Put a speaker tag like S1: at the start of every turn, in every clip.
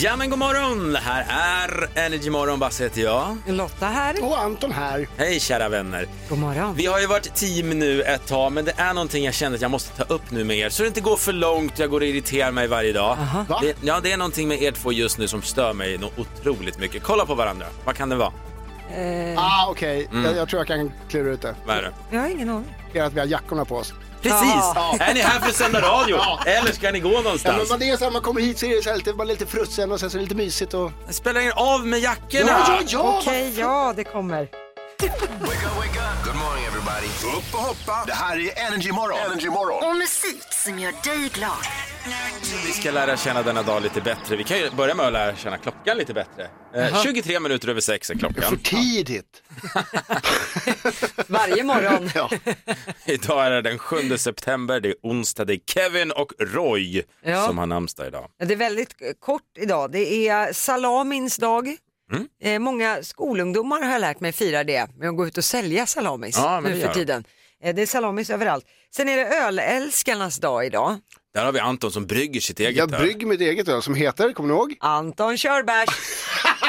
S1: Ja men god morgon! Det här är Energy Morgon, Basse heter jag.
S2: Lotta här.
S3: Och Anton här.
S1: Hej kära vänner!
S2: God morgon.
S1: Vi har ju varit team nu ett tag men det är någonting jag känner att jag måste ta upp nu med er så det inte går för långt jag går och irriterar mig varje dag.
S3: Va?
S1: Det, ja, det är någonting med er två just nu som stör mig något otroligt mycket. Kolla på varandra, vad kan det vara?
S3: Ah, okej. Jag, jag tror jag kan klura ut det.
S1: Vad är det?
S2: Eh, Jag har ingen aning.
S3: Det är att vi har jackorna på oss.
S1: Precis!
S3: Ja.
S1: Är ni här för att sända radio?
S3: Ja.
S1: Eller ska ni gå
S3: Ja,
S1: någonstans?
S3: men man, det är så här, man kommer hit så är det så här lite, bara lite frusen och sen så är det lite mysigt och...
S1: Det Spelar ingen av med jackorna!
S3: ja!
S2: Okej, ja det kommer.
S4: Wake up, wake up. Good morning everybody. Upp och hoppa. Det här är Energy Morgon. Energy Morgon.
S5: Och musik som gör dig glad.
S1: Vi ska lära känna denna dag lite bättre. Vi kan ju börja med att lära känna klockan lite bättre. Eh, 23 minuter över sex är
S3: För
S1: klockan.
S3: tidigt.
S2: Varje morgon.
S3: Ja.
S1: Idag är det den 7 september, det är onsdag, det är Kevin och Roy
S2: Ja.
S1: som har namnsdag idag.
S2: Det är väldigt eh, kort idag. Det är salamins dag.
S1: Mm.
S2: Eh, många skolungdomar har jag lärt mig firar det med att gå ut och sälja salamis
S1: Ja, men det
S2: nu
S1: gör
S2: för
S1: de.
S2: tiden. Eh, det är salamis överallt. Sen är det ölälskarnas dag idag.
S1: Där har vi Anton som brygger sitt eget
S3: Jag
S1: öl.
S3: brygger mitt eget öl som heter, kommer ni ihåg?
S2: Anton kör bärs.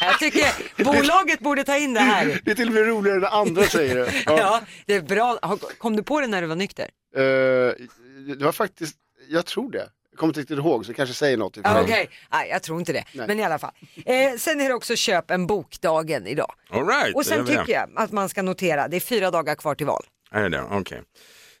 S2: jag tycker bolaget borde ta in det här.
S3: Det är till och med roligare när andra säger det.
S2: Ja, det är bra. Har- Kom du på det när du var nykter?
S3: Eh, det var faktiskt, jag tror det. Jag kommer inte riktigt ihåg så det kanske säger något. i och för
S2: Ja,
S3: sig.
S2: Okej, nej jag tror inte det.
S3: Nej.
S2: Men i alla fall. Eh, sen är det också köp en bokdagen idag.
S1: All right,
S2: Och sen
S1: det gör vi
S2: tycker jag att man ska notera, det är fyra dagar kvar till val.
S1: det. Är det det? Okej.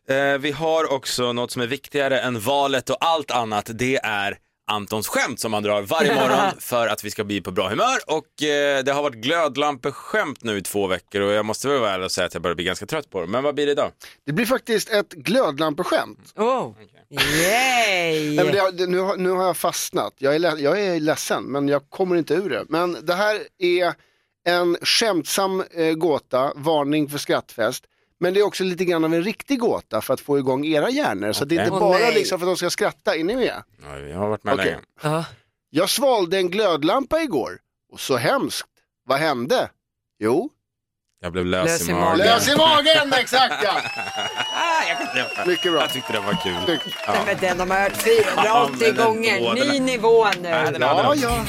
S1: Eh, vi har också något som är viktigare än valet och allt annat. Det är Antons skämt som han drar varje morgon för att vi ska bli på bra humör. Och eh, det har varit glödlampeskämt nu i två veckor och jag måste väl vara ärlig och säga att jag börjar bli ganska trött på det. Men vad blir det idag?
S3: Det blir faktiskt ett glödlampeskämt.
S2: Oh, yay!
S3: Nej, men det, har- det, nu, har- nu har jag fastnat. Jag är, le, jag är ledsen, men jag kommer inte ur det. Men det här är en skämtsam eh, gåta, varning för skrattfest. Men det är också lite grann av en riktig gåta för att få igång era hjärnor. Så det är inte
S2: Åh,
S3: bara
S2: nej.
S3: liksom för att de ska skratta, är ni med?
S1: Ja, jag har varit med
S3: Okej.
S1: länge.
S2: Ja.
S3: Jag svalde en glödlampa igår och så hemskt. Vad hände? Jo,
S1: Jag blev lös,
S2: Lös
S1: i
S2: i
S1: magen.
S2: magen.
S3: lös i magen! Exakt ja!
S1: Ah, jag, kan inte-
S3: Mycket bra.
S1: jag tyckte det var kul.
S3: Snyggt.
S2: Nej, men den har man hört
S1: Ja, men
S2: 480
S1: ändå,
S2: gånger,
S1: den är-
S2: ny nivå nu.
S1: Ja, den är-
S3: Ja, ja.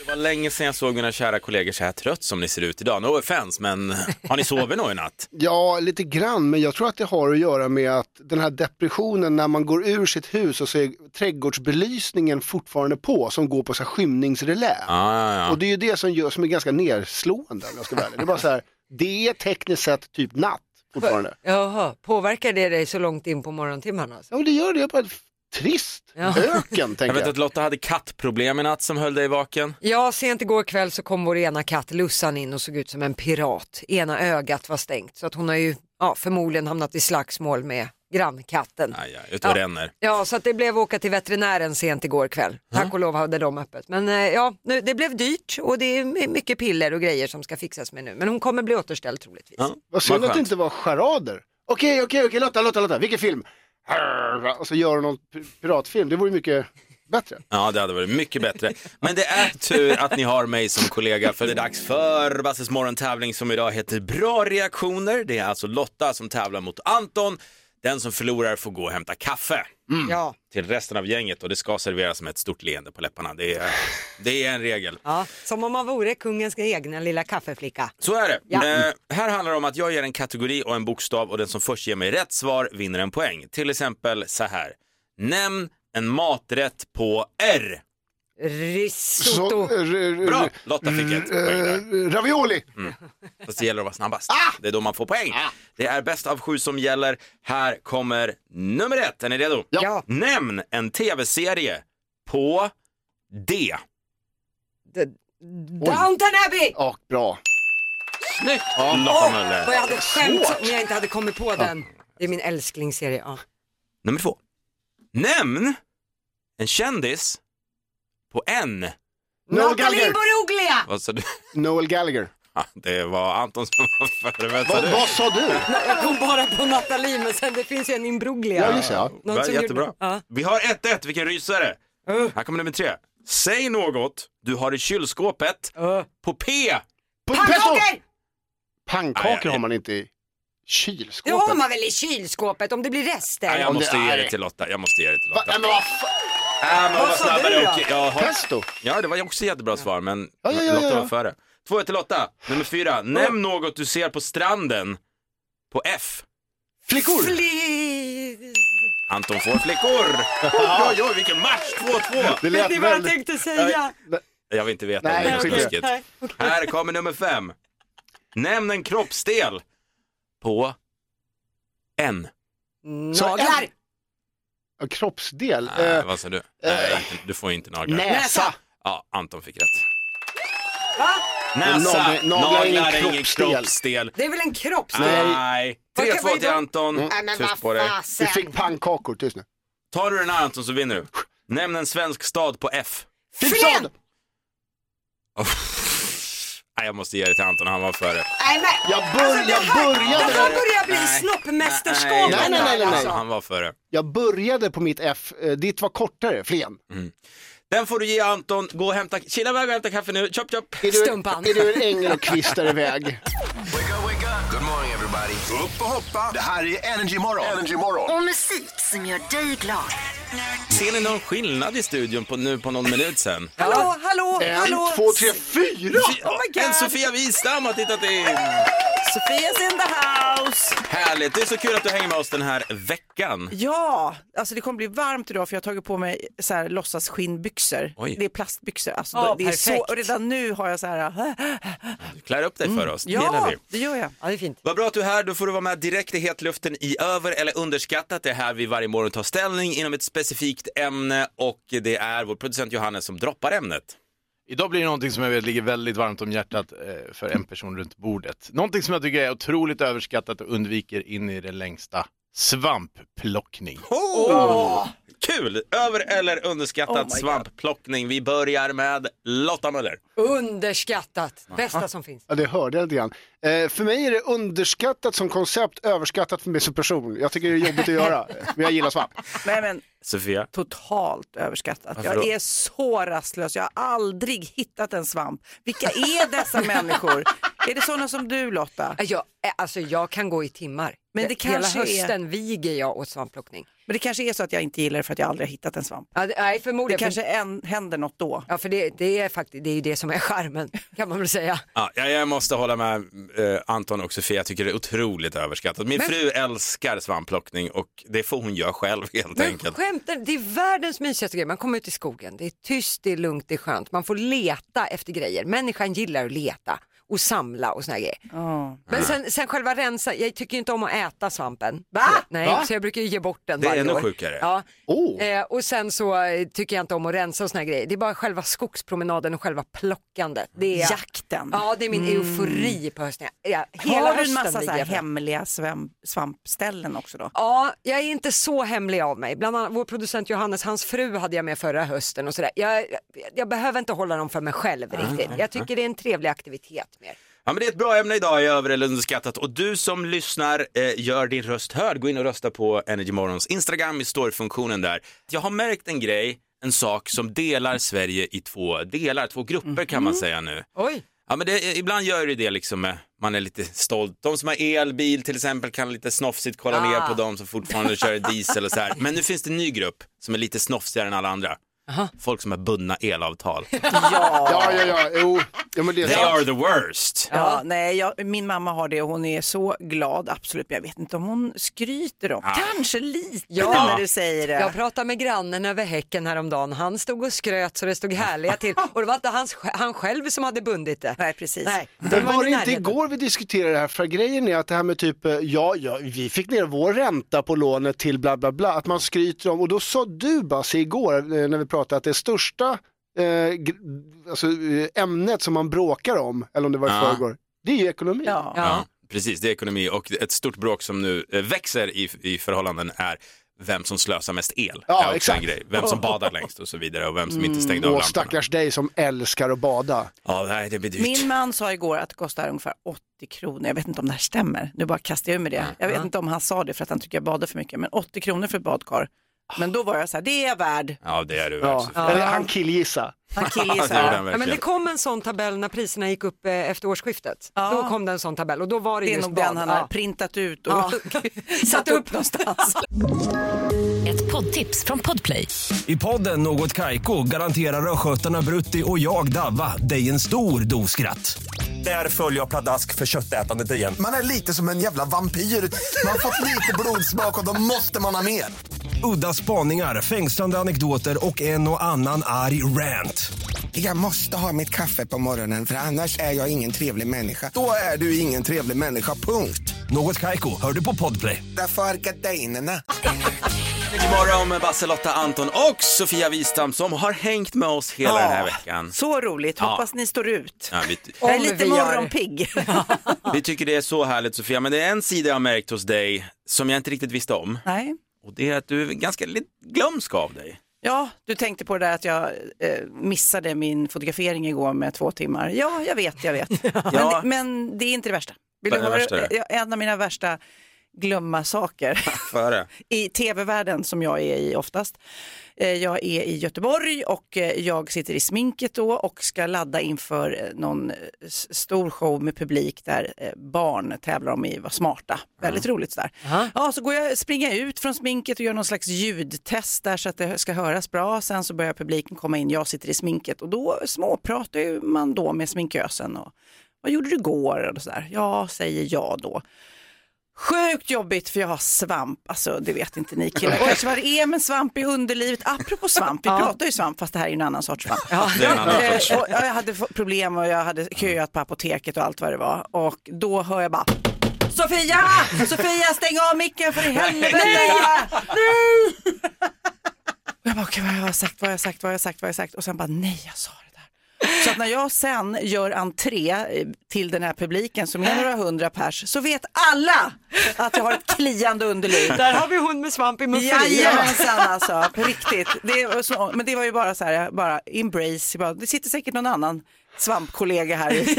S1: Det var länge sedan jag såg mina kära kollegor så här trött som ni ser ut idag. No offense, men har ni sovit nog i natt?
S3: Ja, lite grann, men jag tror att det har att göra med att den här depressionen när man går ur sitt hus och så är trädgårdsbelysningen fortfarande på som går på så här skymningsrelä.
S1: Ah, ja, ja.
S3: Och det är ju det som, gör, som är ganska nedslående om jag ska vara ärlig. Det är bara så här, det är tekniskt sett typ natt fortfarande.
S2: Jaha, påverkar det dig så långt in på morgontimmarna? Alltså?
S3: Ja, men det gör det, jag är bara trist.
S2: Ja.
S3: Öken
S1: Jag
S3: tänker
S1: vet
S3: jag.
S1: att Lotta hade kattproblem i natt som höll dig vaken.
S2: Ja, sent igår kväll så kom vår ena katt Lussan in och såg ut som en pirat. Ena ögat var stängt så att hon har ju ja, förmodligen hamnat i slagsmål med grannkatten.
S1: Aj, aj, ut och
S2: Ja.
S1: ränner.
S2: Ja, så att det blev åka till veterinären sent igår kväll.
S3: Mm.
S2: Tack och lov hade de öppet. Men eh, ja, nu, det blev dyrt och det är my- mycket piller och grejer som ska fixas med nu. Men hon kommer bli återställd troligtvis.
S1: Ja,
S3: Vad synd att
S1: skönt.
S3: det inte var charader. Okej, okej, okej, Lotta, Lotta, Lotta, vilken film? Arr, Och så gör hon någon pi- piratfilm, det vore mycket bättre.
S1: Ja, det hade varit mycket bättre. Men det är tur att ni har mig som kollega för det är dags för Basses morgontävling som idag heter Bra reaktioner. Det är alltså Lotta som tävlar mot Anton. Den som förlorar får gå och hämta kaffe
S3: Mm.
S2: Ja.
S1: till resten av gänget och det ska serveras med ett stort leende på läpparna. Det är, det är en regel.
S2: ja, som om man vore kungens egna lilla kaffeflicka.
S1: Så är det.
S2: Ja.
S1: Eh, här handlar det om att jag ger en kategori och en bokstav och den som först ger mig rätt svar vinner en poäng. Till exempel så här. Nämn en maträtt på R.
S2: Risotto.
S1: Bra! Lotta fick ett poäng där. Mm.
S3: Eh, Ravioli!
S1: Fast det gäller att vara snabbast. Det är då man får poäng. Det är bäst av sju som gäller. Här kommer nummer ett. Är ni redo?
S3: Ja.
S2: Ja,
S1: Nämn en tv-serie på D.
S2: d- Downton Abbey!
S3: Ja, bra.
S1: Snyggt! Lotta
S2: Vad jag
S1: Möller.
S2: hade skämt om jag inte hade kommit på den. Det är min älsklingsserie. Ja.
S1: Nummer två. Nämn en kändis på N.
S3: Noel
S2: Natalie
S3: Gallagher.
S2: Imbruglia!
S1: Vad sa du?
S3: Noel Gallagher.
S1: Ja, Det var Anton som var före. Vänta
S3: Vad,
S1: du.
S3: vad sa du?
S2: Jag kom bara på Natalie men sen det finns ju en Imbruglia.
S3: Ja, just det. Ja.
S2: Någon
S1: Va,
S2: som
S1: Jättebra.
S2: gjorde- Ja.
S1: Vi har 1-1, vilken rysare.
S2: Uh.
S1: Här kommer nummer tre. Säg något du har i kylskåpet
S2: Uh.
S1: på P.
S3: P- pesto!
S2: Pannkakor!
S1: Aj, aj.
S3: Pannkakor har man inte i
S2: Det har
S3: kylskåpet.
S2: man väl i kylskåpet om det blir
S1: Nej,
S2: rester?
S1: jag
S3: Om det
S1: måste ge
S3: är-
S1: det till Lotta. Jag måste ge det till
S3: Va,
S1: Lotta.
S3: nej, men vad fan?
S1: Äh, man var
S2: sa du
S1: snabbare
S2: då?
S1: och... Jag har...
S3: Pesto.
S1: Ja, det var också jättebra svar, men
S3: Ja, ja, ja,
S1: Lotta
S3: ja.
S1: var före. Två till Lotta. Nummer fyra. Nämn något du ser på stranden på F.
S3: Flickor.
S2: Fli...
S1: Anton får flickor. Oj, oj, oj, vilken match! 2-2.
S3: Det
S2: Vet
S3: lät
S2: ni vad jag
S3: väldigt...
S2: tänkte säga?
S1: Jag vill inte veta
S3: Nej,
S1: om det är
S3: skit i
S1: något
S3: det.
S1: läskigt. Här kommer nummer fem. Nämn en kroppsdel på N.
S2: Naglar!
S3: Ja, Kroppsdel.
S1: Äh,
S3: Eh,
S1: vad sa du? Nej, inte, du får inte naglar.
S3: näsa.
S1: Ja, Anton fick rätt.
S2: Va?
S1: Näsa,
S3: Naglar-
S1: naglar
S3: naglar är ingen
S1: är ingen
S3: kroppsdel.
S1: kroppsdel.
S2: Det är väl en kroppsdel?
S1: Nej.
S2: Vad kan- Mm. vad
S1: 3-2
S2: är
S1: till
S2: de-
S1: Anton. Tyst på dig.
S3: Vi fick pannkakor, tyst nu.
S1: Tar du den här Anton så vinner du. Nämn en svensk stad på F.
S3: Filipstad!
S1: Nej, jag måste ge det till Anton, han var före.
S2: Nej, men... Alltså,
S3: Jag, bör, jag
S2: Det här
S3: började...
S2: börjar bli
S1: Nej.
S2: snoppmästerskap.
S3: Nej, nej, nej, nej, nej.
S1: Han var före.
S3: jag började på mitt F. Eh, Ditt var kortare, Flen.
S1: Den får du ge Anton. Gå och hämta, kila iväg och hämta kaffe nu. Chop chop.
S3: Är du,
S2: Stumpan.
S3: är du en ängel och kvistar iväg?
S4: Wake up, wake up. Good morning everybody. Upp och hoppa. Det här är Energy Morgon. Energy
S5: Och musik som gör dig glad.
S1: Ser ni någon skillnad i studion på, nu på någon minut sen?
S2: Hallå, hallå,
S3: En,
S2: hallå. Oh
S3: två, tre, fyra!
S2: my God.
S1: en Sofia Wistam har tittat in.
S6: Sofias in the house!
S1: Härligt, det är så kul att du hänger med oss den här veckan.
S6: Ja, alltså det kommer bli varmt idag för jag har tagit på mig så här låtsas skinnbyxor.
S1: Oj.
S6: Det är plastbyxor. Alltså,
S2: Ja,
S6: det är så,
S2: perfekt.
S6: och redan nu har jag så här,
S1: Klär upp dig för oss, det gillar
S6: Mm. ja
S1: vi.
S6: det gör jag.
S2: Ja, det är fint.
S1: Vad bra att du är här, då får du vara med direkt i hetluften i över eller underskattat. Det är här vi varje morgon tar ställning inom ett specifikt ämne och det är vår producent Johannes som droppar ämnet.
S7: Idag blir det någonting som jag vet ligger väldigt varmt om hjärtat eh, för en person runt bordet. Någonting som jag tycker är otroligt överskattat och undviker in i det längsta. Svampplockning.
S1: Oh! Kul! Över eller underskattat
S6: Oh my
S1: svampplockning. Vi börjar med Lotta Möller.
S2: Underskattat. Bästa som finns.
S3: Ja, det hörde jag lite grann. Eh, för mig är det underskattat som koncept, överskattat för mig som person. Jag tycker det är jobbigt att göra, men jag gillar svamp.
S6: Nej men
S1: Sofia.
S6: totalt överskattat.
S1: Varför
S6: Jag
S1: då?
S6: är så rastlös, jag har aldrig hittat en svamp. Vilka är dessa människor? Är det sådana som du Lotta?
S2: Jag, alltså, jag kan gå i timmar.
S6: Men det kanske
S2: Hela
S6: är-
S2: hösten viger jag åt svampplockning.
S6: Men det kanske är så att jag inte gillar det för att jag aldrig har hittat en svamp.
S2: Ja, det- nej,
S6: Det
S2: förmodligen.
S6: kanske än, händer något då.
S2: Ja, för det, det är faktiskt det är ju det som är charmen, kan man väl säga.
S1: Ja, jag- jag måste hålla med eh, Anton och Sofia, jag tycker det är otroligt överskattat. Min fru älskar svampplockning och det får hon göra själv helt
S2: Men
S1: enkelt.
S2: skämtar Det är världens mysigaste grej. Man kommer ut i skogen, det är tyst, det är lugnt, det är skönt. Man får leta efter grejer. Människan gillar att leta och samla och såna grejer.
S6: Ja.
S2: Men sen, sen själva rensa, jag tycker ju inte om att äta svampen. Nej,
S3: Va?
S2: så jag brukar ju ge bort den
S1: Det är
S2: varje
S1: ännu
S2: år.
S1: sjukare.
S2: Ja.
S3: Oh.
S2: Eh, och sen så eh, tycker jag inte om att rensa och såna här grejer. Det är bara själva skogspromenaden och själva plockandet. Det är,
S6: Jakten.
S2: Ja, det är min eufori på hösten. Jag, jag, hela
S6: Har du en
S2: hösten
S6: massa så
S2: ligger
S6: här
S2: jag för-
S6: hemliga svamp, svampställen också då?
S2: Ja, jag är inte så hemlig av mig. Bland annat vår producent Johannes, hans fru hade jag med förra hösten och sådär. Jag, jag, jag behöver inte hålla dem för mig själv riktigt. Jag tycker det är en trevlig aktivitet mer.
S1: Ja, men det är ett bra ämne idag i över eller underskattat och du som lyssnar eh, gör din röst hörd. Gå in och rösta på Energy Morgons Instagram i storyfunktionen där. Jag har märkt en grej, en sak som delar Sverige i två delar, två grupper kan
S6: Mhm.
S1: man säga nu.
S2: Oj!
S1: Ja, men det, ibland gör det det liksom, eh, man är lite stolt. De som har elbil till exempel kan lite snofsigt kolla
S2: Ah.
S1: ner på de som fortfarande kör diesel och så här. Men nu finns det en ny grupp som är lite snofsigare än alla andra. Folk som har bundna elavtal.
S3: Ja, ja, ja, jo. Ja, men det är
S1: They
S3: sant.
S1: are the worst.
S6: Ja, nej, jag, min mamma har det och hon är så glad, absolut. Men jag vet inte om hon skryter om. Kanske lite
S2: Ja.
S6: när du säger det.
S2: Jag pratade med grannen över häcken häromdagen. Han stod och skröt så det stod härliga till. Och det var inte hans, han själv som hade bundit det.
S6: Nej, precis.
S2: Nej,
S3: Men var det
S2: i
S3: inte
S2: närheten.
S3: igår vi diskuterade det här? För grejen är att det här med typ, eh, ja, ja, vi fick ner vår ränta på lånet till bla bla bla, att man skryter om, och då sa du Basse igår eh, när vi pratade att det största eh, gr- alltså, eh, ämnet som man bråkar om, eller om det var i
S1: Ja.
S3: förrgår, det är ju ekonomi.
S6: Ja.
S1: Ja, precis. Det är ekonomi och ett stort bråk som nu eh, växer i, i förhållanden är vem som slösar mest el.
S3: Ja,
S1: är också
S3: exakt.
S1: En grej. Vem som badar längst och så vidare och vem som inte stängde av
S3: Och
S1: lamporna.
S3: stackars dig som älskar att bada.
S1: Ja, nej, det blir dyrt.
S6: Min man sa igår att det kostar ungefär 80 kronor. Jag vet inte om det här stämmer. Nu bara kastar jag ur med det. Jag vet inte om han sa det för att han tycker jag badar för mycket. Men 80 kronor för ett badkar. Men då var jag så här, det är jag värd.
S1: Ja, det är du.
S3: Ja.
S1: Ja.
S3: Eller han killgissa.
S6: Han
S1: Ja, det är den
S6: killgissar.
S2: Ja, men det
S1: verkligen.
S2: kom en sån tabell när priserna gick upp eh, efter årsskiftet.
S6: Ja.
S2: Då kom det en sån tabell och då var det,
S6: Det är
S2: just
S6: nog den
S2: bad.
S6: han
S2: Ja.
S6: har printat ut och
S2: Ja.
S6: satt upp någonstans.
S5: Ett
S8: Ett poddtips från Podplay.
S9: I podden Något Kaiko garanterar östgötarna Brutti och jag, Davva, dig en stor dos skratt. Där följer jag pladask för köttätandet igen.
S10: Man är lite som en jävla vampyr. Man har fått lite blodsmak och då måste man ha mer.
S9: Udda spaningar, fängslande anekdoter och en och annan arg rant.
S10: Jag måste ha mitt kaffe på morgonen för annars är jag ingen trevlig människa. Då är du ingen trevlig människa, punkt.
S9: Något Kaiko, hör du på Podplay.
S10: Därför är gardinerna.
S1: Imorgon med Basse-Lotta Anton och Sofia Wistam som har hängt med oss hela den här veckan.
S6: Så roligt,
S1: Ja.
S6: hoppas ni står ut.
S1: Ja, vi,
S6: Jag är
S2: Om
S6: lite
S2: vi gör.
S6: morgonpigg.
S1: vi tycker det är så härligt Sofia, men det är en sida jag har märkt hos dig som jag inte riktigt visste om.
S6: Nej.
S1: Och det är att du är ganska lite glömsk av dig.
S6: Ja, du tänkte på det där att jag eh, missade min fotografering igår med två timmar. Ja, jag vet, jag vet.
S1: Ja.
S6: men, men det är inte det värsta. Vill
S1: Vad är det
S6: höra-
S1: värsta då?
S6: Ja, en av mina värsta glömma saker
S1: Före.
S6: i tv-världen som jag är i oftast. Eh, Jag är i Göteborg och eh, jag sitter i sminket då och ska ladda inför eh, någon eh, s- stor show med publik där eh, barn tävlar om att vara smarta. Väldigt roligt sådär. Ja, så går jag, springer jag ut från sminket och gör någon slags ljudtest där så att det ska höras bra. Sen så börjar publiken komma in, jag sitter i sminket och då småpratar ju man då med sminkösen och vad gjorde du igår och sådär. Ja, säger jag då. Sjukt jobbigt för jag har svamp, alltså det vet inte ni killar kanske vad det är med svamp i underlivet. Apropå svamp, vi pratar ju svamp fast det här är ju en annan sorts svamp.
S1: Det är en annan
S6: Eh,
S1: sorts.
S6: och jag hade fått problem och jag hade köat på apoteket och allt vad det var och då hör jag bara Sofia! Sofia stäng av micken för i helvete! Nej! Och jag bara okej vad har jag sagt, vad har jag sagt, vad har jag sagt, vad har jag sagt och sen bara nej jag sa det där. Så att när jag sen gör entré eh, till den här publiken som är några hundra pers så vet alla att jag har ett kliande underliv.
S2: Där har vi hund med svamp i muffin.
S6: Jajamensan alltså, på riktigt. Det var så, men det var ju bara så här, jag bara embrace, jag bara, det sitter säkert någon annan svampkollega här i, i,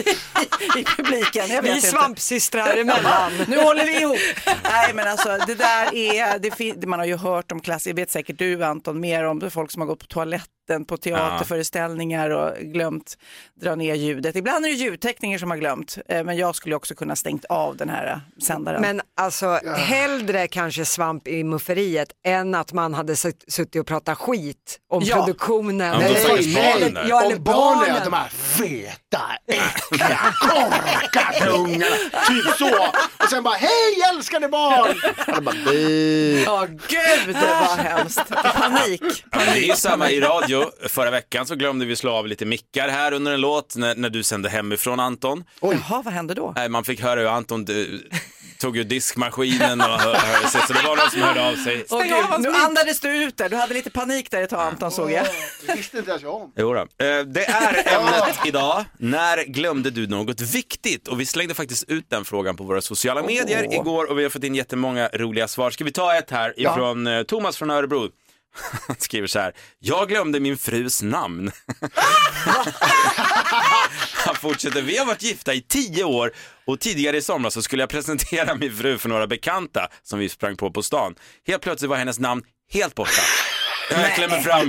S6: i publiken. Jag vet
S2: Vi
S6: inte.
S2: svampsystrar emellan.
S6: Nu håller vi ihop. Nej men alltså det där är, det fin- man har ju hört om klass, jag vet säkert du Anton mer om folk som har gått på toaletten på teaterföreställningar och glömt dra ner ljudet. Ibland är det ljudtekniker som har glömt, eh, men jag skulle också kunna stängt av den här eh, sändaren.
S2: Men alltså hellre kanske svamp i mufferiet än att man hade sutt- suttit och pratat skit om
S6: Ja.
S2: produktionen.
S1: Om de
S2: Eller-
S1: stackars barnen
S2: eller-
S1: där.
S2: Ja, eller
S3: Om barnen,
S2: barnen.
S3: de här feta, äckliga, korkatungarna, typ så. Och sen bara, hej älskade barn! Och de bara, "Bäh."
S6: Ja, gud vad hemskt. Panik.
S1: Ja, men det är ju samma i radio. Förra veckan så glömde vi slå av lite mickar här under en låt när, när du sände hemifrån Anton.
S6: Jaha, vad hände då?
S1: Nej, man fick höra hur Anton du, tog ur diskmaskinen och hör, hör sig, så det var någon som hörde av sig.
S6: Åh, gud, nu andades du ut där, du hade lite panik där ett tag Anton såg jag.
S3: Det visste inte ens jag om.
S1: Jo då. Eh, Det är ämnet idag. När glömde du något viktigt? Och vi slängde faktiskt ut den frågan på våra sociala medier
S6: Åh.
S1: igår och vi har fått in jättemånga roliga svar. Ska vi ta ett här ifrån eh, Thomas från Örebro? Han skriver så här, jag glömde min frus namn. Han fortsätter, vi har varit gifta i tio år och tidigare i somras så skulle jag presentera min fru för några bekanta som vi sprang på på stan. Helt plötsligt var hennes namn helt borta. Jag klämmer fram, "Eh,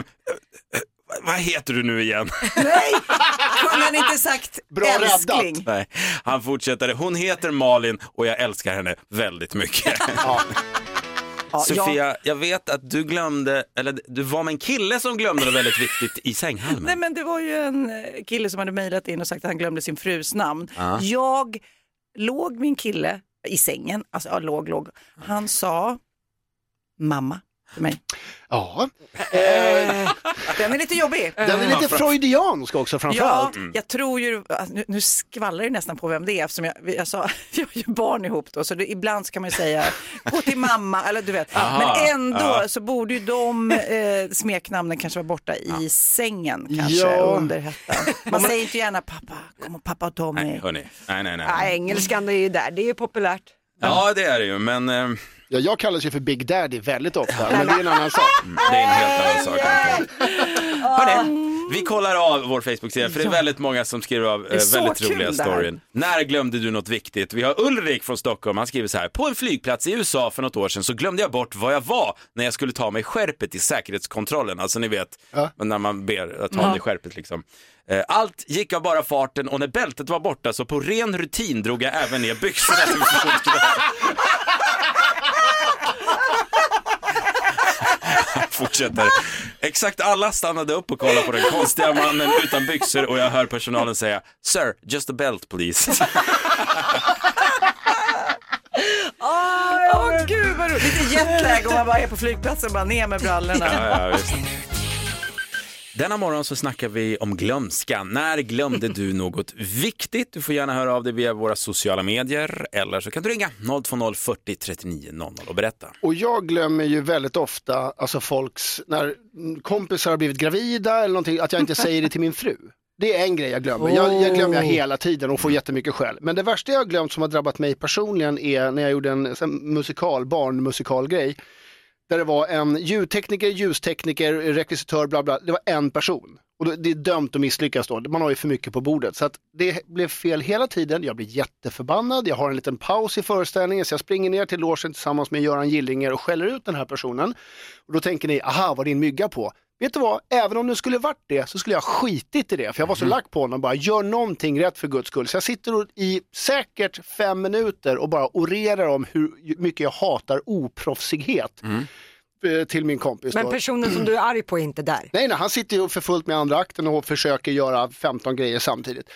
S1: eh, vad heter du nu igen?
S6: Nej, kunde han inte sagt
S3: Bra
S6: älskling?
S1: Nej. Han fortsätter, hon heter Malin och jag älskar henne väldigt mycket.
S6: Ja, jag-
S1: Sofia, jag vet att du glömde, eller du var med en kille som glömde något väldigt viktigt i sänghalmen.
S6: Nej men det var ju en eh, kille som hade mejlat in och sagt att han glömde sin frus namn. Jag låg min kille i sängen, alltså jag låg, låg. Han sa mamma till mig.
S3: Ja,
S6: Den är lite jobbig.
S3: den är lite freudiansk också
S6: Ja,
S3: framförallt.
S1: Mm.
S6: jag tror ju, alltså, nu, nu skvallrar det nästan på vem det är eftersom jag, vi- alltså, jag sa, vi har ju barn ihop då så det, ibland ska man ju säga gå till mamma eller du vet.
S1: Aha,
S6: men ändå så borde ju de eh, smeknamnen kanske vara borta i sängen kanske
S3: Ja.
S6: under hettan. Man säger inte gärna pappa, kom och pappa och Tommy.
S1: Nej, hörni. Nej, nej, nej.
S2: Ja, engelskan är ju där, det är ju populärt.
S1: Ja, det är det ju, men eh,
S3: Ja, jag kallas ju för Big Daddy väldigt ofta, men det är en annan sak.
S1: det är en helt annan sak.
S6: Ah.
S1: Hörni, vi kollar av vår Facebook-sida, för det är väldigt många som skriver av eh,
S6: är så
S1: väldigt
S6: kul
S1: roliga
S6: det här.
S1: storyn. När glömde du något viktigt? Vi har Ulrik från Stockholm, han skriver så här. På en flygplats i USA för något år sedan så glömde jag bort vad jag var när jag skulle ta mig skärpet i säkerhetskontrollen. Alltså ni vet, när man ber att ta av dig skärpet liksom. Eh, Allt gick av bara farten och när bältet var borta så på ren rutin drog jag även ner byxorna till fotknölarna. fortsätter. Exakt alla stannade upp och kollade på den konstiga mannen utan byxor och jag hör personalen säga Sir, just a belt please.
S6: Åh gud vad roligt. Lite jetlag och man bara är på flygplatsen och bara ner med brallorna.
S1: Ja, ja, visst. Denna morgon så snackar vi om glömska. När glömde du något viktigt? Du får gärna höra av dig via våra sociala medier eller så kan du ringa 020 40 39 00 och berätta.
S3: Och jag glömmer ju väldigt ofta, alltså folks, när kompisar har blivit gravida eller någonting, att jag inte säger det till min fru. Det är en grej jag glömmer. Jag, jag glömmer jag hela tiden och får jättemycket skäll. Men det värsta jag har glömt som har drabbat mig personligen är när jag gjorde en sån här musikal, barnmusikalgrej. Där det var en ljudtekniker, ljustekniker, rekvisitör, bla bla. Det var en person. Och då- det är dömt att misslyckas då. Man har ju för mycket på bordet. Så att det blev fel hela tiden. Jag blir jätteförbannad. Jag har en liten paus i föreställningen. Så jag springer ner till logen tillsammans med Göran Gillinger och skäller ut den här personen. Och då tänker ni, aha, vad din mygga på? Vet du vad, även om det skulle varit det så skulle jag skitit i det. För jag var så lack på honom, bara gör någonting rätt för guds skull. Så jag sitter och- i säkert fem minuter och bara orerar om hur mycket jag hatar oproffsighet eh, till min kompis.
S2: Men
S3: då.
S2: personen som du är arg på är inte där.
S3: Nej, nej, han sitter ju för fullt med andra akten och försöker göra 15 grejer samtidigt.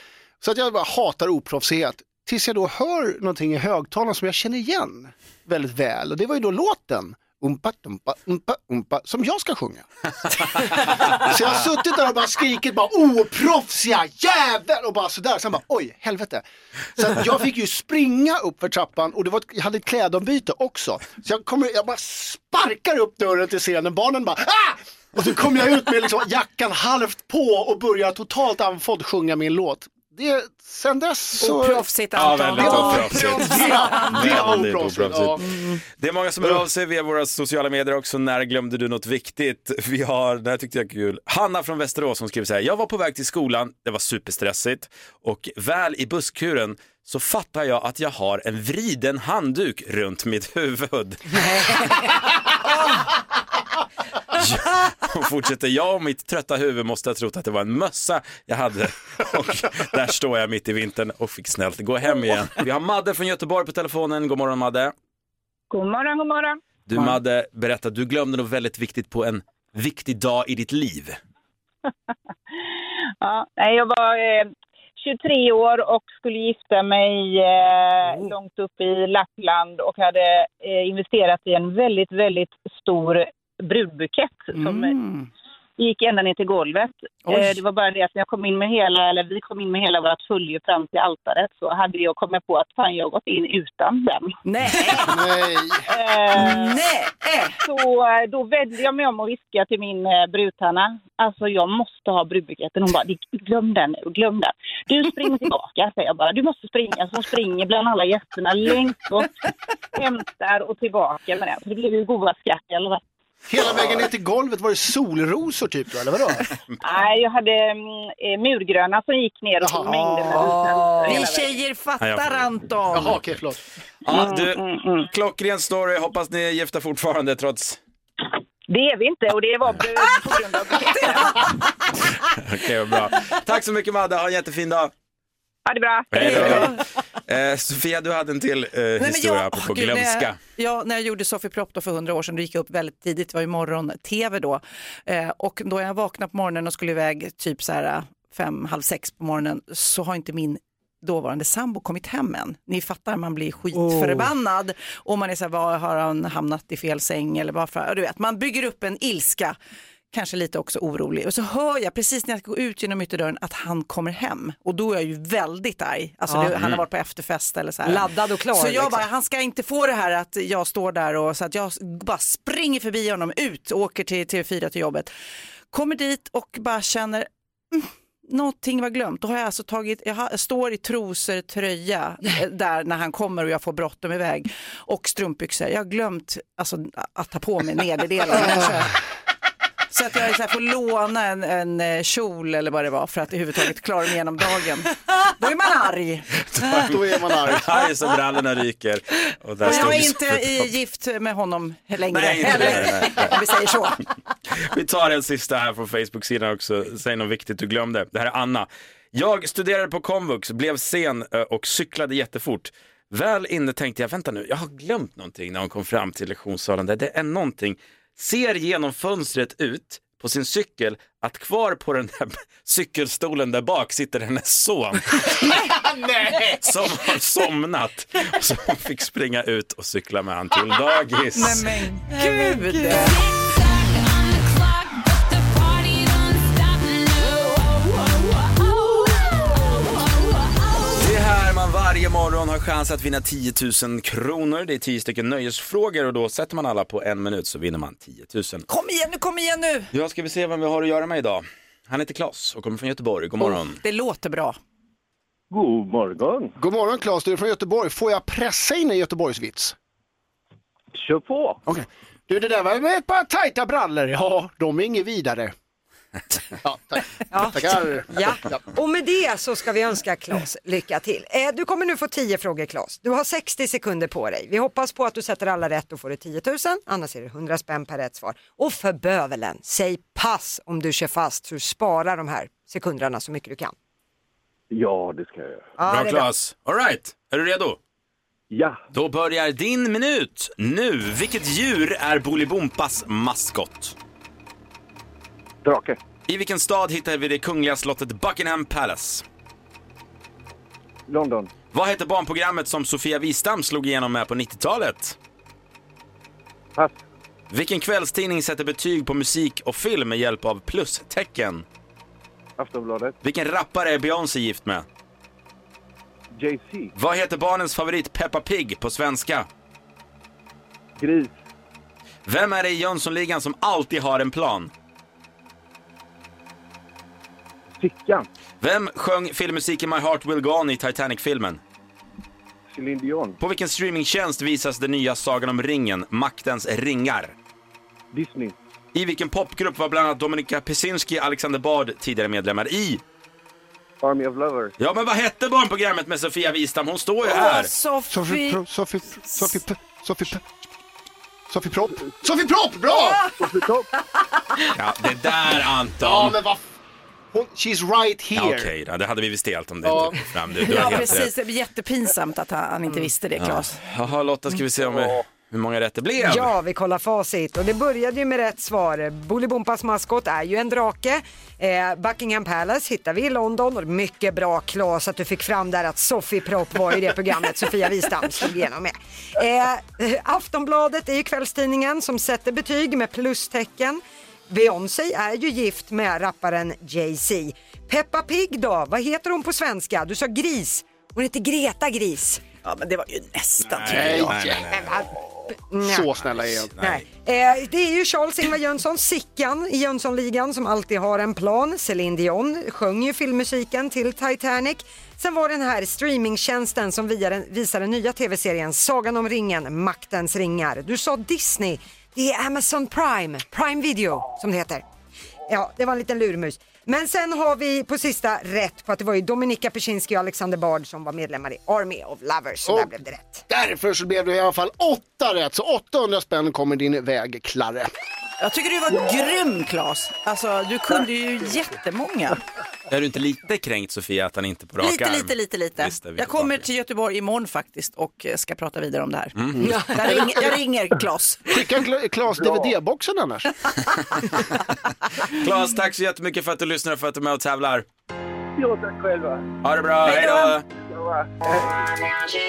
S3: Så att jag bara hatar oproffsighet. Tills jag då hör någonting i högtalaren som jag känner igen väldigt väl. Och det var ju då låten. Umpa, umpa, umpa, umpa, som jag ska sjunga. så jag har suttit där och bara skrikit bara oproffsiga jävel och bara sådär. Sen bara oj, helvete. Så att jag fick ju springa upp för trappan och det var, ett- jag hade ett klädombyte också. Så jag, kommer, jag bara sparkar upp dörren till scenen, barnen bara ah! Och så kommer jag ut med liksom jackan halvt på och börjar totalt andfådd sjunga min låt. Det, sen dess så...
S6: Oproffsigt
S1: Ja,
S6: Anton.
S1: väldigt
S6: Åh,
S1: oproffsigt.
S3: Ja, det var
S1: Väldigt
S3: oproffsigt. Ja.
S1: oproffsigt. Det är många som hör av sig via våra sociala medier också. När glömde du något viktigt? Vi har, det här tyckte jag är kul, Hanna från Västerås som skriver så här. Jag var på väg till skolan, det var superstressigt och väl i busskuren så fattar jag att jag har en vriden handduk runt mitt huvud. Ja, Hon fortsätter, jag och mitt trötta huvud måste ha trott att det var en mössa jag hade. Och där står jag mitt i vintern och fick snällt gå hem igen. Vi har Madde från Göteborg på telefonen. God morgon Madde.
S8: God morgon, god morgon.
S1: Du Madde, berätta, du glömde något väldigt viktigt på en viktig dag i ditt liv.
S8: Ja, nej, jag var eh, 23 år och skulle gifta mig eh,
S6: Mm.
S8: långt upp i Lappland och hade eh, investerat i en väldigt, väldigt stor brudbukett som eh,
S6: Mm.
S8: gick ända ner till golvet.
S6: Oj.
S8: Eh, det var bara det att när jag kom in med hela, eller vi kom in med hela vårt följe fram till altaret så hade jag kommit på att fan, jag har gått in utan den.
S6: Nej,
S3: Nej,
S8: Eh,
S6: nej.
S8: Så eh, då vände jag mig om och viskade till min eh, brudtanna. Alltså jag måste ha brudbuketten. Hon bara, "Det- glöm den nu, glöm den. Du springer tillbaka, säger jag bara. Du måste springa. Så hon springer bland alla gästerna längst bort, hämtar och tillbaka med den. Så det blev ju goda skratt i alla fall.
S3: hela vägen ner till golvet var det solrosor typ då, eller vadå?
S8: Nej, jag hade mm, eh, murgröna som gick ner och tog
S3: Jaha.
S8: mängder med rosor hela
S6: Vi
S8: vägen.
S6: tjejer
S1: Ja, jag
S6: fattar
S1: får-
S6: Anton.
S3: Jaha, okej, förlåt.
S1: Ja, du,
S8: Mm, mm.
S1: klockren story, hoppas ni är gifta fortfarande trots...
S8: Det är vi inte och det var på- på grund av buketten.
S1: Okej, vad bra. Tack så mycket Madde, ha en jättefin dag.
S8: Ha det bra.
S1: Hej då. Eh, Sofia, du hade en till eh, historia
S6: åh,
S1: apropå
S6: gud,
S1: glömska.
S6: När jag, ja, när jag gjorde Sofie Propp då för hundra år sedan, då gick jag upp väldigt tidigt, det var ju morgon-tv då. Eh, och då jag vaknade på morgonen och skulle iväg typ så här eh, fem, halv sex på morgonen så har inte min dåvarande sambo kommit hem än. Ni fattar, man blir skitförbannad
S1: Oh.
S6: och man är så här, var har han hamnat i fel säng eller varför? Ja, Du vet, man bygger upp en ilska, kanske lite också orolig. Och så hör jag precis när jag går ut genom ytterdörren att han kommer hem och då är jag ju väldigt arg. Alltså, det,
S1: Mm.
S6: han har varit på efterfest eller så här.
S2: Laddad och klar,
S6: Så jag
S2: liksom.
S6: bara, han ska inte få det här att jag står där och så att jag bara springer förbi honom ut och åker till TV4 till jobbet. Kommer dit och bara känner "Mm, Någonting var glömt. Då har jag alltså tagit, jag, har, jag står i trosor, tröja eh, där när han kommer och jag får bråttom iväg och strumpbyxor. Jag har glömt alltså, att ta på mig nederdelen. Så att jag så här, får låna en, en eh, kjol eller vad det var för att överhuvudtaget klara mig igenom dagen. Då är man arg.
S3: Då är man arg.
S1: Arg så brallorna ryker. Och där
S6: Och
S1: stod
S6: jag är
S1: vi-
S6: inte i- gift med honom längre.
S1: Nej, inte
S6: Eller,
S1: längre, nej.
S6: Om vi säger så.
S1: Vi tar en sista här från Facebook-sidan också. Säg något viktigt du glömde. Det här är Anna. Jag studerade på komvux, blev sen eh, och cyklade jättefort. Väl inne tänkte jag, vänta nu, jag har glömt någonting när hon kom fram till lektionssalen. Där. Det är någonting ser genom fönstret ut på sin cykel att kvar på den där cykelstolen där bak sitter hennes son
S7: Nej!
S1: som har somnat. Så hon fick springa ut och cykla med han till dagis.
S6: Nej men gud.
S1: Det är här man varje morgon har chans att vinna 10 000 kronor. Det är 10 stycken nöjesfrågor och då sätter man alla på en minut så vinner man 10 000.
S6: Kom igen nu, kom igen nu.
S1: Ja, ska vi se vem vi har att göra med idag. Han heter Klas och kommer från Göteborg. God morgon.
S6: Det låter bra.
S11: God morgon.
S3: God morgon Claes, du är från Göteborg. Får jag pressa in en Göteborgsvits?
S11: Kör på.
S3: Okej. Du, det där var med ett par tajta brallor. Ja, de är inget vidare. ja, tack.
S2: Ja.
S3: Tackar.
S2: Ja. Och med det så ska vi önska Claes lycka till. Eh, Du kommer nu få 10 frågor Claes. Du har 60 sekunder på dig. Vi hoppas på att du sätter alla rätt och får du 10 000. Annars är det 100 spänn per rätt svar. Och för bövelen, säg pass om du kör fast så du sparar de här sekunderna så mycket du kan.
S11: Ja, det ska jag göra.
S2: Ja,
S1: bra
S2: det är bra.
S1: Klas. All right. är du redo?
S11: Ja.
S1: Då börjar din minut nu. Vilket djur är Bolibompas maskot?
S11: Drake.
S1: I vilken stad hittar vi det kungliga slottet Buckingham Palace?
S11: London.
S1: Vad heter barnprogrammet som Sofia Wistam slog igenom med på 90-talet?
S11: Pass.
S1: Vilken kvällstidning sätter betyg på musik och film med hjälp av plustecken?
S11: Aftonbladet.
S1: Vilken rappare är Beyoncé gift med?
S11: JC.
S1: Vad heter barnens favorit Peppa Pig på svenska?
S11: Gris.
S1: Vem är det i Jönssonligan som alltid har en plan?
S11: Fickan.
S1: Vem sjöng filmmusiken My Heart Will Go On i Titanic-filmen?
S11: Céline Dion.
S1: På vilken streamingtjänst visas den nya Sagan om ringen, Maktens ringar?
S11: Disney.
S1: I vilken popgrupp var bland annat Dominika Pisinski och Alexander Bard tidigare medlemmar i?
S11: Army of Lovers.
S1: Ja, men vad hette barnprogrammet med Sofia Wistam? Hon står ju
S6: Åh,
S1: här!
S2: Alltså,
S3: Sofie,
S6: Sofie.
S3: pro, Sofie, Sofie, P- Sofie, P- Sofie Propp. Sofie Propp, bra!
S11: Sofie Topp.
S1: Ja, det där Anton!
S3: Ja, men vad... f- Hon, she's right
S1: Ja,
S3: here.
S1: Okej, då, det hade vi visst helt om det
S3: Ja.
S1: inte kom fram. Du, du har
S6: Ja
S1: helt
S6: precis,
S1: rätt. Mm.
S6: det är jättepinsamt att han, han inte visste det Claes.
S1: Jaha, Lotta, ska vi se om vi, hur många rätt det blev?
S2: Ja, vi kollar facit och det började ju med rätt svar. Bolibompas maskot är ju en drake. Eh, Buckingham Palace hittar vi i London och mycket bra Claes att du fick fram där att Sofie Propp var i det programmet Sofia Wistam slog igenom med. Eh, Aftonbladet är ju kvällstidningen som sätter betyg med plustecken. Beyoncé är ju gift med rapparen Jay-Z. Peppa Pig då, vad heter hon på svenska? Du sa gris. Hon heter Greta Gris.
S6: Ja men det var ju nästan
S1: Nej, nej, nej, nej.
S2: Men vad- Nej.
S3: Så snälla är jag.
S2: Nej. Eh, det är ju Charles-Ingvar Jönsson, Sickan i Jönssonligan som alltid har en plan. Céline Dion sjöng ju filmmusiken till Titanic. Sen var den här streamingtjänsten som via den, visar den nya tv-serien Sagan om ringen, Maktens ringar. Du sa Disney, det är Amazon Prime, Prime Video som det heter. Ja, det var en liten lurmus. Men sen har vi på sista rätt på att det var ju Dominika Peczynski och Alexander Bard som var medlemmar i Army of Lovers, så där
S3: Och-
S2: blev det rätt.
S3: Därför så blev det i alla fall åtta rätt, så 800 spänn kommer din väg, Klarre.
S6: Jag tycker du var grym Claes. Alltså du kunde ju jättemånga.
S1: Är du inte lite kränkt Sofia att han inte på rak
S6: Lite,
S1: arm?
S6: lite, lite, lite.
S1: Visst, det är vi
S6: Jag kommer
S1: tillbaka. Mm.
S6: till Göteborg imorgon faktiskt och eh, ska prata vidare om det här. Mm. Jag, ringer, jag ringer Claes.
S3: Skicka Kla- Klas DVD-boxen annars.
S1: Claes, tack så jättemycket för att du lyssnar och för att du är med och tävlar.
S11: Ja, tack själva.
S1: Ha det bra, hej då!
S5: Energy.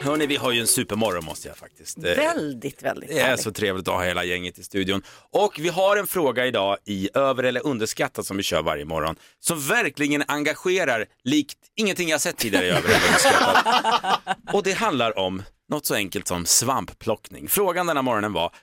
S1: Hörni, vi har ju en supermorgon måste jag faktiskt. eh,
S6: Väldigt, väldigt
S1: Det är
S6: härligt.
S1: så trevligt att ha hela gänget i studion. Och vi har en fråga idag i över eller underskattat som vi kör varje morgon som verkligen engagerar likt ingenting jag sett tidigare i över eller underskattat. Och det handlar om något så enkelt som svampplockning. Frågan den här morgonen var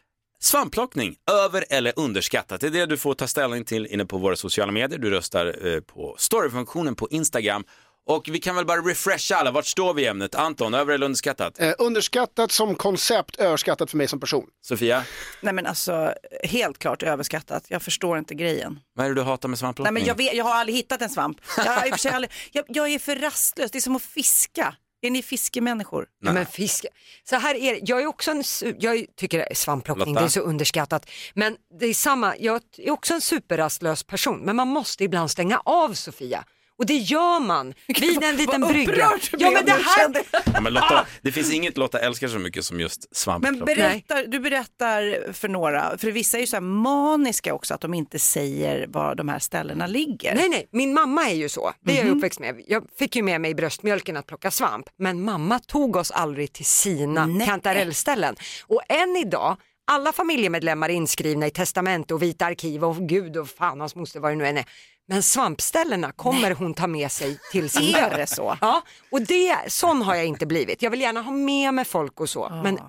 S1: Svampplockning, över eller underskattat? Det är det du får ta ställning till inne på våra sociala medier. Du röstar eh, på storyfunktionen på Instagram. Och vi kan väl bara refresha alla, vart står vi i ämnet? Anton, över eller underskattat?
S3: Eh, underskattat som koncept, överskattat för mig som person.
S1: Sofia,
S6: Nej men alltså helt klart överskattat. Jag förstår inte grejen.
S1: vad är det du hatar med
S6: Nej,
S1: svampplockning?
S6: men jag, vet, jag har aldrig hittat en svamp. Jag, har i och för sig aldrig, jag, jag är för rastlös, det är som att fiska. Är ni fiskemänniskor?
S2: Ja, Men fisk, så här är det. jag är också en, su- jag tycker svampplockning
S1: Lotta?
S2: det är så underskattat. Men det är samma, jag är också en superrastlös person men man måste ibland stänga av Sofia Och det gör man vid en liten
S6: vad
S2: brygga.
S6: upprörd du
S2: ja,
S6: blev
S2: men det
S6: nu,
S2: här...
S6: kände
S1: Ja, men
S2: Ah.
S1: Lotta, det finns inget Lotta älskar så mycket som just
S6: Men
S1: svampklotter.
S6: berättar, du berättar för några, för vissa är ju så här maniska också att de inte säger var de här ställena ligger.
S2: Nej, nej, min mamma är ju så. Det är
S6: Mhm.
S2: jag ju uppväxt med. Jag fick ju med mig i bröstmjölken att plocka svamp, men mamma tog oss aldrig till sina kantarellställen. Och än idag, alla familjemedlemmar är inskrivna i testament och vita arkiv och gud och fan hans moster vad det nu än är. Men svampställena kommer hon ta med sig till sin
S6: Är
S2: död.
S6: det så?
S2: Ja, och det, sån har jag inte blivit. Jag vill gärna ha med mig folk och så,
S6: Ah.
S2: men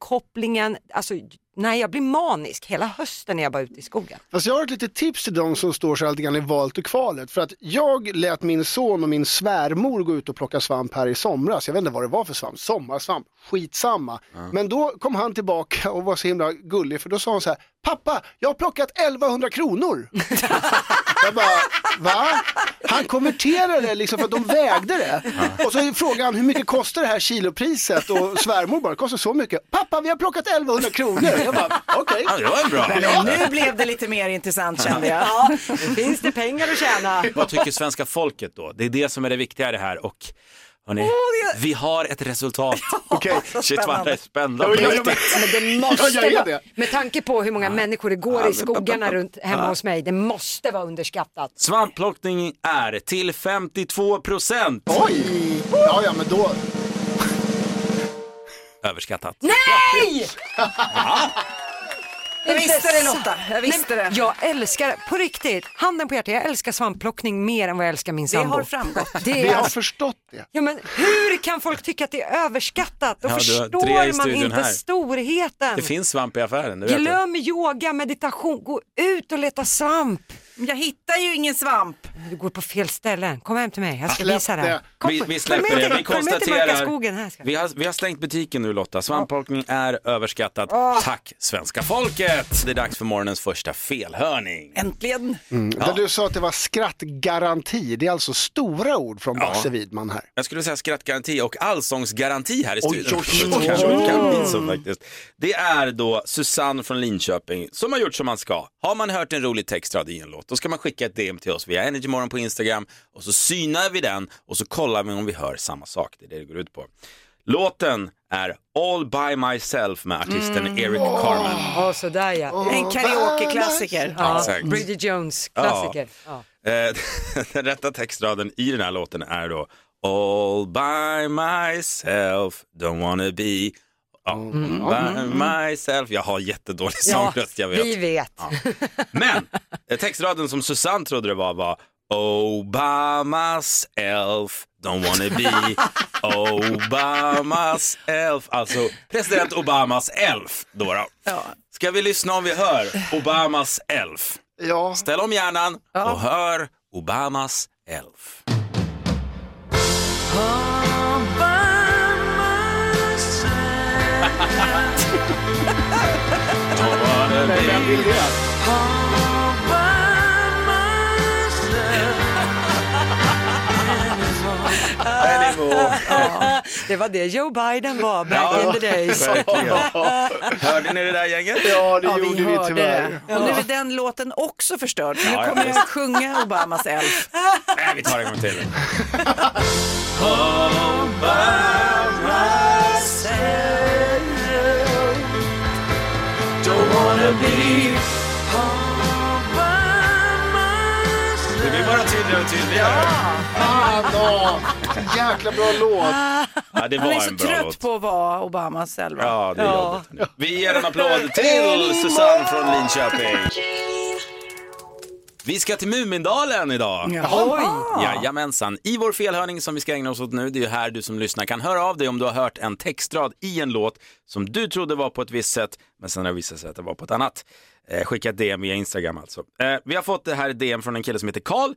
S2: avkopplingen, alltså nej jag blir manisk hela hösten när jag bara är ute i skogen.
S3: Fast jag har ett litet tips till de som står sig lite grann i valet och kvalet. För att jag lät min son och min svärmor gå ut och plocka svamp här i somras. Jag vet inte vad det var för svamp, sommarsvamp, skitsamma. Men då kom han tillbaka och var så himla gullig för då sa han så här, pappa, jag har plockat 1100 kronor. jag bara, va? Han konverterade det liksom för att de vägde det. Och så frågade han, hur mycket kostar det här kilopriset? Och svärmor bara, det kostar så mycket. Pappa, vi har plockat 1100 kronor. Jag bara, okej.
S1: Ja, Ah, det var en bra.
S6: Men nu blev det lite mer intressant kände jag.
S2: Ja, finns det pengar att tjäna?
S1: Vad tycker svenska folket då? Det är det som är det viktiga i det här och hörni, vi har ett resultat.
S3: Okej.
S1: Shit vad det är spännande.
S3: Ja, ja, ja,
S1: Riktigt.
S2: Men det
S3: Ja, jag
S2: måste
S3: är
S2: vara,
S3: det.
S2: med tanke på hur många människor det går i skogarna runt hemma
S1: Ja.
S2: hos mig, det måste vara underskattat.
S1: Svampplockning är till 52 procent
S3: Oj! Ja, ja, men då...
S1: överskattat.
S2: Nej!
S6: Jag visste det
S2: Intressant.
S6: Lotta, jag visste
S2: Nej,
S6: det.
S2: men Jag älskar, på riktigt, handen på hjärtat, jag älskar svampplockning mer än vad jag älskar min
S6: Det
S2: sambo.
S6: har framgått.
S2: Det
S3: Vi
S2: är
S3: har
S2: alltså,
S3: förstått det.
S2: ja, men hur kan folk tycka att det är överskattat? Då
S1: Ja, du har tre i
S2: förstår man
S1: studion
S2: inte
S1: här.
S2: storheten.
S1: Det finns svamp i affären, du vet det.
S2: Glöm yoga, meditation, gå ut och leta svamp.
S6: Jag hittar ju ingen svamp.
S2: Du går på fel ställe, kom hem till mig, jag ska
S3: Släpp
S2: visa
S3: det.
S2: dig. Kom,
S1: Ah, Vi, vi
S2: kom
S1: släpper
S2: med
S1: det,
S2: till-
S1: vi
S2: kom med till Backaskogen, här
S1: konstaterar.
S2: ska jag.
S1: Vi har, vi har stängt butiken nu Lotta, svampplockning är överskattat.
S2: Ah.
S1: Tack svenska folket! Det är dags för morgonens första felhörning.
S6: Äntligen.
S3: Mm, Där du sa att det var skrattgaranti, det är alltså stora ord från Basse Widman här.
S1: Jag skulle säga skrattgaranti och allsångsgaranti här i
S3: Oj,
S1: studion.
S3: oj, oj, oj.
S1: Kanske det kan bli så faktiskt. Det är då Susanne från Linköping som har gjort som man ska. Har man hört en rolig textrad i en låt, då ska man skicka ett DM till oss via Energymorgon på Instagram och så synar vi den och så kollar vi om vi hör samma sak. Det är det det går ut på. Låten är All by myself med artisten
S3: Mm.
S1: Eric Carmen.
S2: Ja, sådär
S1: Ah.
S2: ja.
S6: En karaokeklassiker.
S2: ja
S1: exakt.
S2: Bridget Jones, klassiker. Ja.
S1: Eh, Den rätta textraden i den här låten är då All by myself, don't wanna be ja, by myself. Jag har jättedålig sångröst, jag
S2: vi
S1: vet.
S2: vet.
S1: Men eh, textraden som Susanne trodde det var var Oh by myself, don't wanna be Oh by myself. Alltså president Obamas elf. Då då. Ska vi lyssna om vi hör Obamas elf?
S3: Ja,
S1: Ställ om hjärnan och hör Obamas elf.
S3: vem vill det?
S1: Ah.
S2: Det var det Joe Biden var back in the days.
S1: Hörde ni det där gänget?
S3: Ja, det
S6: Ja,
S3: gjorde
S6: vi
S3: vi
S6: hörde
S3: tyvärr.
S6: det. Och nu är den låten också förstörd. Nu
S1: ja,
S6: kommer jag
S1: visst.
S6: att sjunga Obamas Elf.
S1: Nej, vi tar en gång till. Det blir bara tydligare och tydligare.
S3: Fan då! Jäkla bra låt.
S1: Ja, det
S6: Han
S1: var
S6: är
S1: en
S6: så
S1: bra
S6: trött
S1: låt.
S6: på att vara Obamas Elf.
S1: Ja, det är jobbigt. Vi ger en applåd till Susanne från Linköping. Vi ska till Mumindalen idag.
S6: Oj.
S1: Jajamensan. I vår felhörning som vi ska ägna oss åt nu, det är ju här du som lyssnar kan höra av dig om du har hört en textrad i en låt som du trodde var på ett visst sätt, men sen har det visat sig att det var på ett annat. Eh, skicka ett DM via Instagram alltså. Eh, vi har fått det här DM från en kille som heter Karl.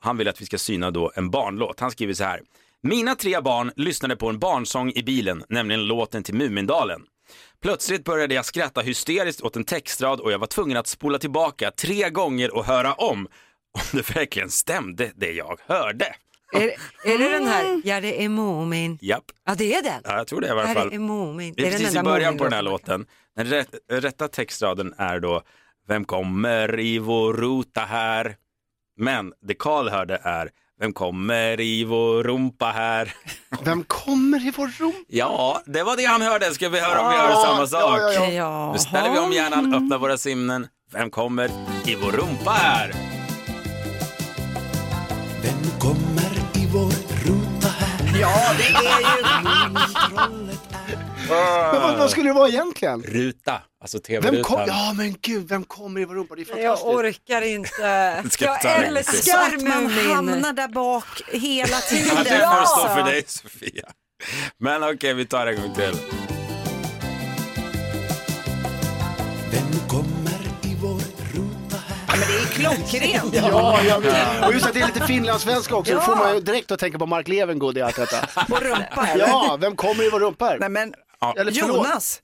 S1: Han vill att vi ska syna då en barnlåt. Han skriver så här. Mina tre barn lyssnade på en barnsång i bilen, nämligen låten till Mumindalen. Plötsligt började jag skratta hysteriskt åt en textrad och jag var tvungen att spola tillbaka tre gånger och höra om om det verkligen stämde det jag hörde.
S2: Är, är det den här, ja det är Moomin?
S1: Japp,
S2: Ja det är den.
S1: Mm. ja, jag tror det i varje
S2: Ja, det är
S1: fall.
S2: Moomin.
S1: Vi är
S2: den
S1: precis i
S2: enda
S1: början på den här
S2: Moomin-låten.
S1: låten. Den rätt, rätta textraden är då Vem kommer i vår ruta här? Men det Karl hörde är Vem kommer i vår rumpa här?
S3: Vem kommer i vår rumpa?
S1: Ja, det var det han hörde. Ska vi höra om vi hör samma sak?
S6: ja, ja. Jaha.
S1: Nu ställer vi om hjärnan, öppnar våra sinnen. Vem kommer i vår rumpa här?
S12: Vem kommer i vår rumpa här?
S6: Ja, det är ju...
S3: Men vad, vad skulle det vara egentligen?
S1: Ruta, alltså
S3: Vem kom,
S1: tv-rutan.
S3: ja men gud, vem kommer i vår rumpa? Det är fantastiskt.
S2: Jag orkar inte.
S1: Ska
S2: Jag
S1: ta det lugnt.
S6: Så
S2: älskar
S6: att man hamnar
S2: Mumin.
S6: där bak hela tiden.
S1: Ja, det får stå för dig Sofia. Men okej, vi tar det en gång till.
S12: Vem kommer i vår
S6: Klockrent.
S3: Ja, jag vet. Och just att det är lite finlandssvenska också, då får man ju direkt att tänka på Mark Levengood i allt detta.
S6: På rumpa eller?
S3: Ja, vem kommer i vår rumpa här?
S6: Nej men
S3: Eller förlåt.
S6: Jonas.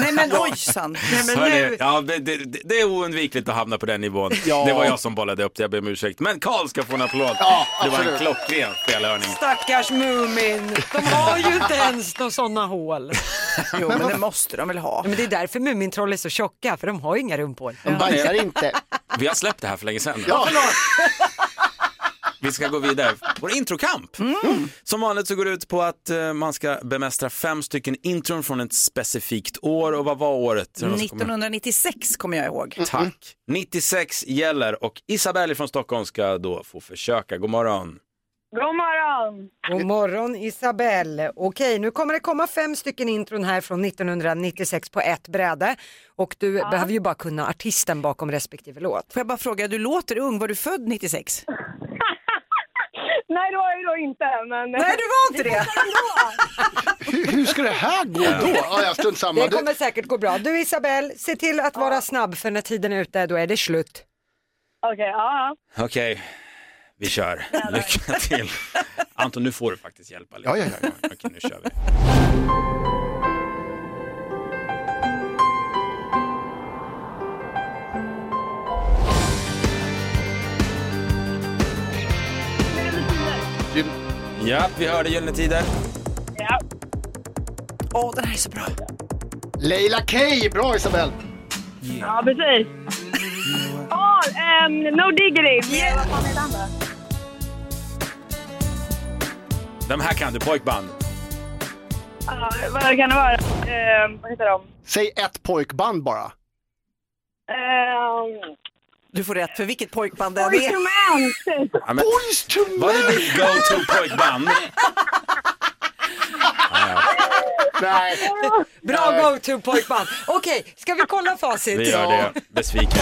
S6: Nej men ojsan. Nej, men
S1: Hörrni,
S6: nu...
S1: ja, det, det, det är oundvikligt att hamna på den nivån.
S3: Ja.
S1: Det var jag som bollade upp det, jag ber om ursäkt. Men Karl ska få en applåd.
S3: Ja,
S1: det var en
S3: absolut.
S1: klockren felhörning.
S2: Stackars Mumin. De har ju inte ens några sådana hål.
S6: Jo men det måste de väl ha.
S2: Ja, Men det är därför Mumintroll är så tjocka, för de har ju inga rumphål.
S3: De bajsar inte.
S1: Vi har släppt det här för länge sedan.
S3: Ja,
S1: Vi ska gå vidare. Vår introkamp. Som vanligt så går det ut på att eh, man ska bemästra fem stycken intron från ett specifikt år. Och vad var året? Är det någon som kommer ihåg?
S6: 1996 kommer jag ihåg.
S1: Tack. 96 gäller och Isabelle från Stockholm ska då få försöka. God morgon.
S8: God morgon!
S2: God morgon Isabelle. Okej, nu kommer det komma fem stycken intron här från 1996 på ett bräde. Och du behöver ju bara kunna artisten bakom respektive låt.
S6: Får jag bara fråga, du låter ung, var du född 96?
S8: Nej, det var jag ju då inte, men...
S6: Nej du var inte det.
S3: hur, hur ska det här gå då? Ja, jag strunt samma.
S2: Det
S3: Du,
S2: kommer säkert gå bra. Du Isabelle, se till att vara snabb för när tiden är ute, då är det slut.
S8: Okej, ja.
S1: Okej, vi kör. Lycka till. Anton, nu får du faktiskt hjälpa lite.
S3: Ja, ja, ja.
S1: Okej, nu kör vi. Ja, vi hörde Gyllene Tider.
S8: ja.
S6: Åh den här är så bra.
S3: Leila Kay, bra Isabel.
S8: Ja, precis. Åh, ehm, No Diggity!
S6: Yeah.
S8: Vad fan heter han då?
S1: De här kan du, pojkband.
S8: Ja, vad kan det vara? Ehm, vad heter de?
S3: Säg ett pojkband bara.
S8: Ehm,
S6: Du får rätt för vilket pojkband den är.
S8: Instrument!
S1: Ja, men,
S3: Boys to
S1: var det ditt go-to-pojkband?
S3: Nej.
S2: Bra go-to pojkband. Okej, ska vi kolla facit?
S1: Vi gör det. Besviken.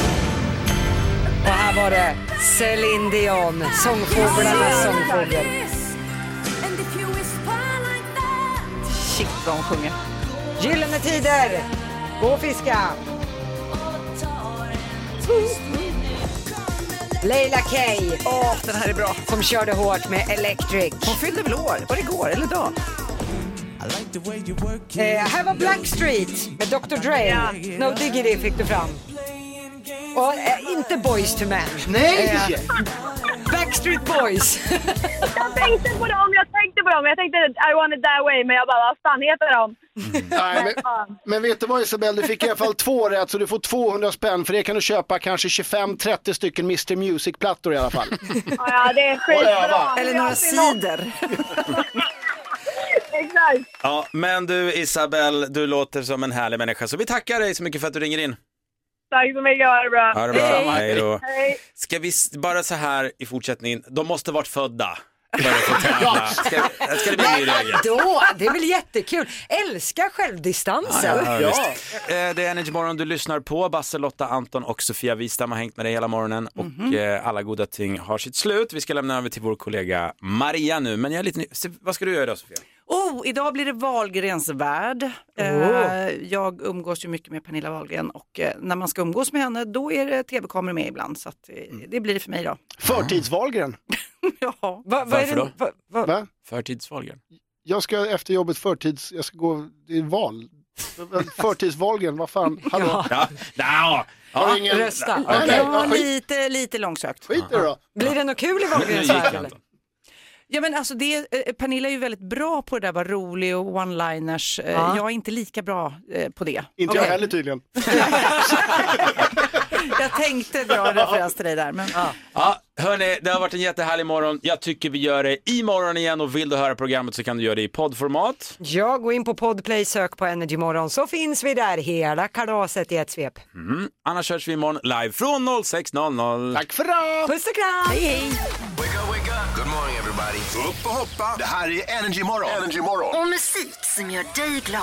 S2: Och här var det Céline Dion, Sångfåglarnas sångfågel.
S6: Shit vad hon sjunger.
S2: Gyllene Tider, gå och fiska. Leila Kay
S6: Åh den här är bra.
S2: som körde hårt med Electric.
S6: Hon fyllde väl år? Var det igår eller idag?
S2: Eh, här var Blackstreet med Dr Dre. No Diggity fick du fram. Och eh, inte Boys to Men. Eh,
S3: Nej!
S2: Backstreet Boys.
S8: Jag tänkte på dem, jag tänkte på dem. Jag tänkte I want it that way, men jag bara, vad fan heter de?
S3: Nej men, men vet du vad Isabel, du fick i alla fall två rätt så du får 200 spänn för det kan du köpa kanske 25-30 stycken Mr Music-plattor i alla fall.
S8: Ja, ja, det är skitbra.
S6: Eller några sidor.
S8: Exakt.
S1: Ja, men du Isabel, du låter som en härlig människa så vi tackar dig så mycket för att du ringer in.
S8: Tack så mycket, ha det bra.
S1: Ha det bra, hej då.
S8: Hej.
S1: Ska vi s- bara så här i fortsättningen, de måste varit födda för att få tävla. Ska, ska det bli en ny regel?
S2: Då, det är väl jättekul. Älskar självdistansen.
S1: Ja, visst. Eh, Det är Energy Morgon du lyssnar på. Basse, Lotta, Anton och Sofia Wistam har hängt med dig hela morgonen och eh, alla goda ting har sitt slut. Vi ska lämna över till vår kollega Maria nu, men jag är lite ny... Se, Vad ska du göra idag Sofia?
S6: Oh, idag blir det Wahlgrens värld.
S1: Oh.
S6: Eh, jag umgås ju mycket med Pernilla Wahlgren och eh, när man ska umgås med henne då är det tv-kameror med ibland så att, eh,
S1: Mm.
S6: det blir det för mig idag.
S3: Förtidsvalgren.
S6: ja.
S2: Va, vad är
S1: Varför
S2: det-
S1: då?
S2: va- va-
S3: Va?
S1: Förtidsvalgen.
S3: Jag ska efter jobbet förtids, jag ska gå, det är val. Förtidsvalgen, vad fan, hallå?
S1: Ja, ja. ja.
S3: Ingen...
S2: Rösta.
S3: Nej, nej,
S6: Det var
S3: vad skit,
S6: lite, lite långsökt.
S3: skit i det då.
S2: Blir det något kul i
S1: Nu
S2: Wahlgrens
S1: gick
S2: värld? eller?
S1: Anton.
S6: Ja, men alltså det, eh, Pernilla är ju väldigt bra på det där, vara rolig och one-liners. Eh,
S2: Ja.
S6: Jag är inte lika bra eh, på det.
S3: Inte jag
S2: Okej.
S3: heller tydligen.
S6: Jag Jag tänkte dra en referens till dig där. Men,
S1: Ja, hörni, det har varit en jättehärlig morgon. Jag tycker vi gör det imorgon igen och vill du höra programmet så kan du göra det i poddformat.
S2: Jag går in på Podplay, sök på Energy Morgon så finns vi där hela kalaset i ett svep.
S1: Mm. Annars hörs vi imorgon live från 06.00.
S3: Tack för idag!
S2: Puss och kram!
S4: Good morning everybody. Upp och hoppa. Det här är Energy Morgon. Energy Morgon.
S5: Och musik som gör dig glad.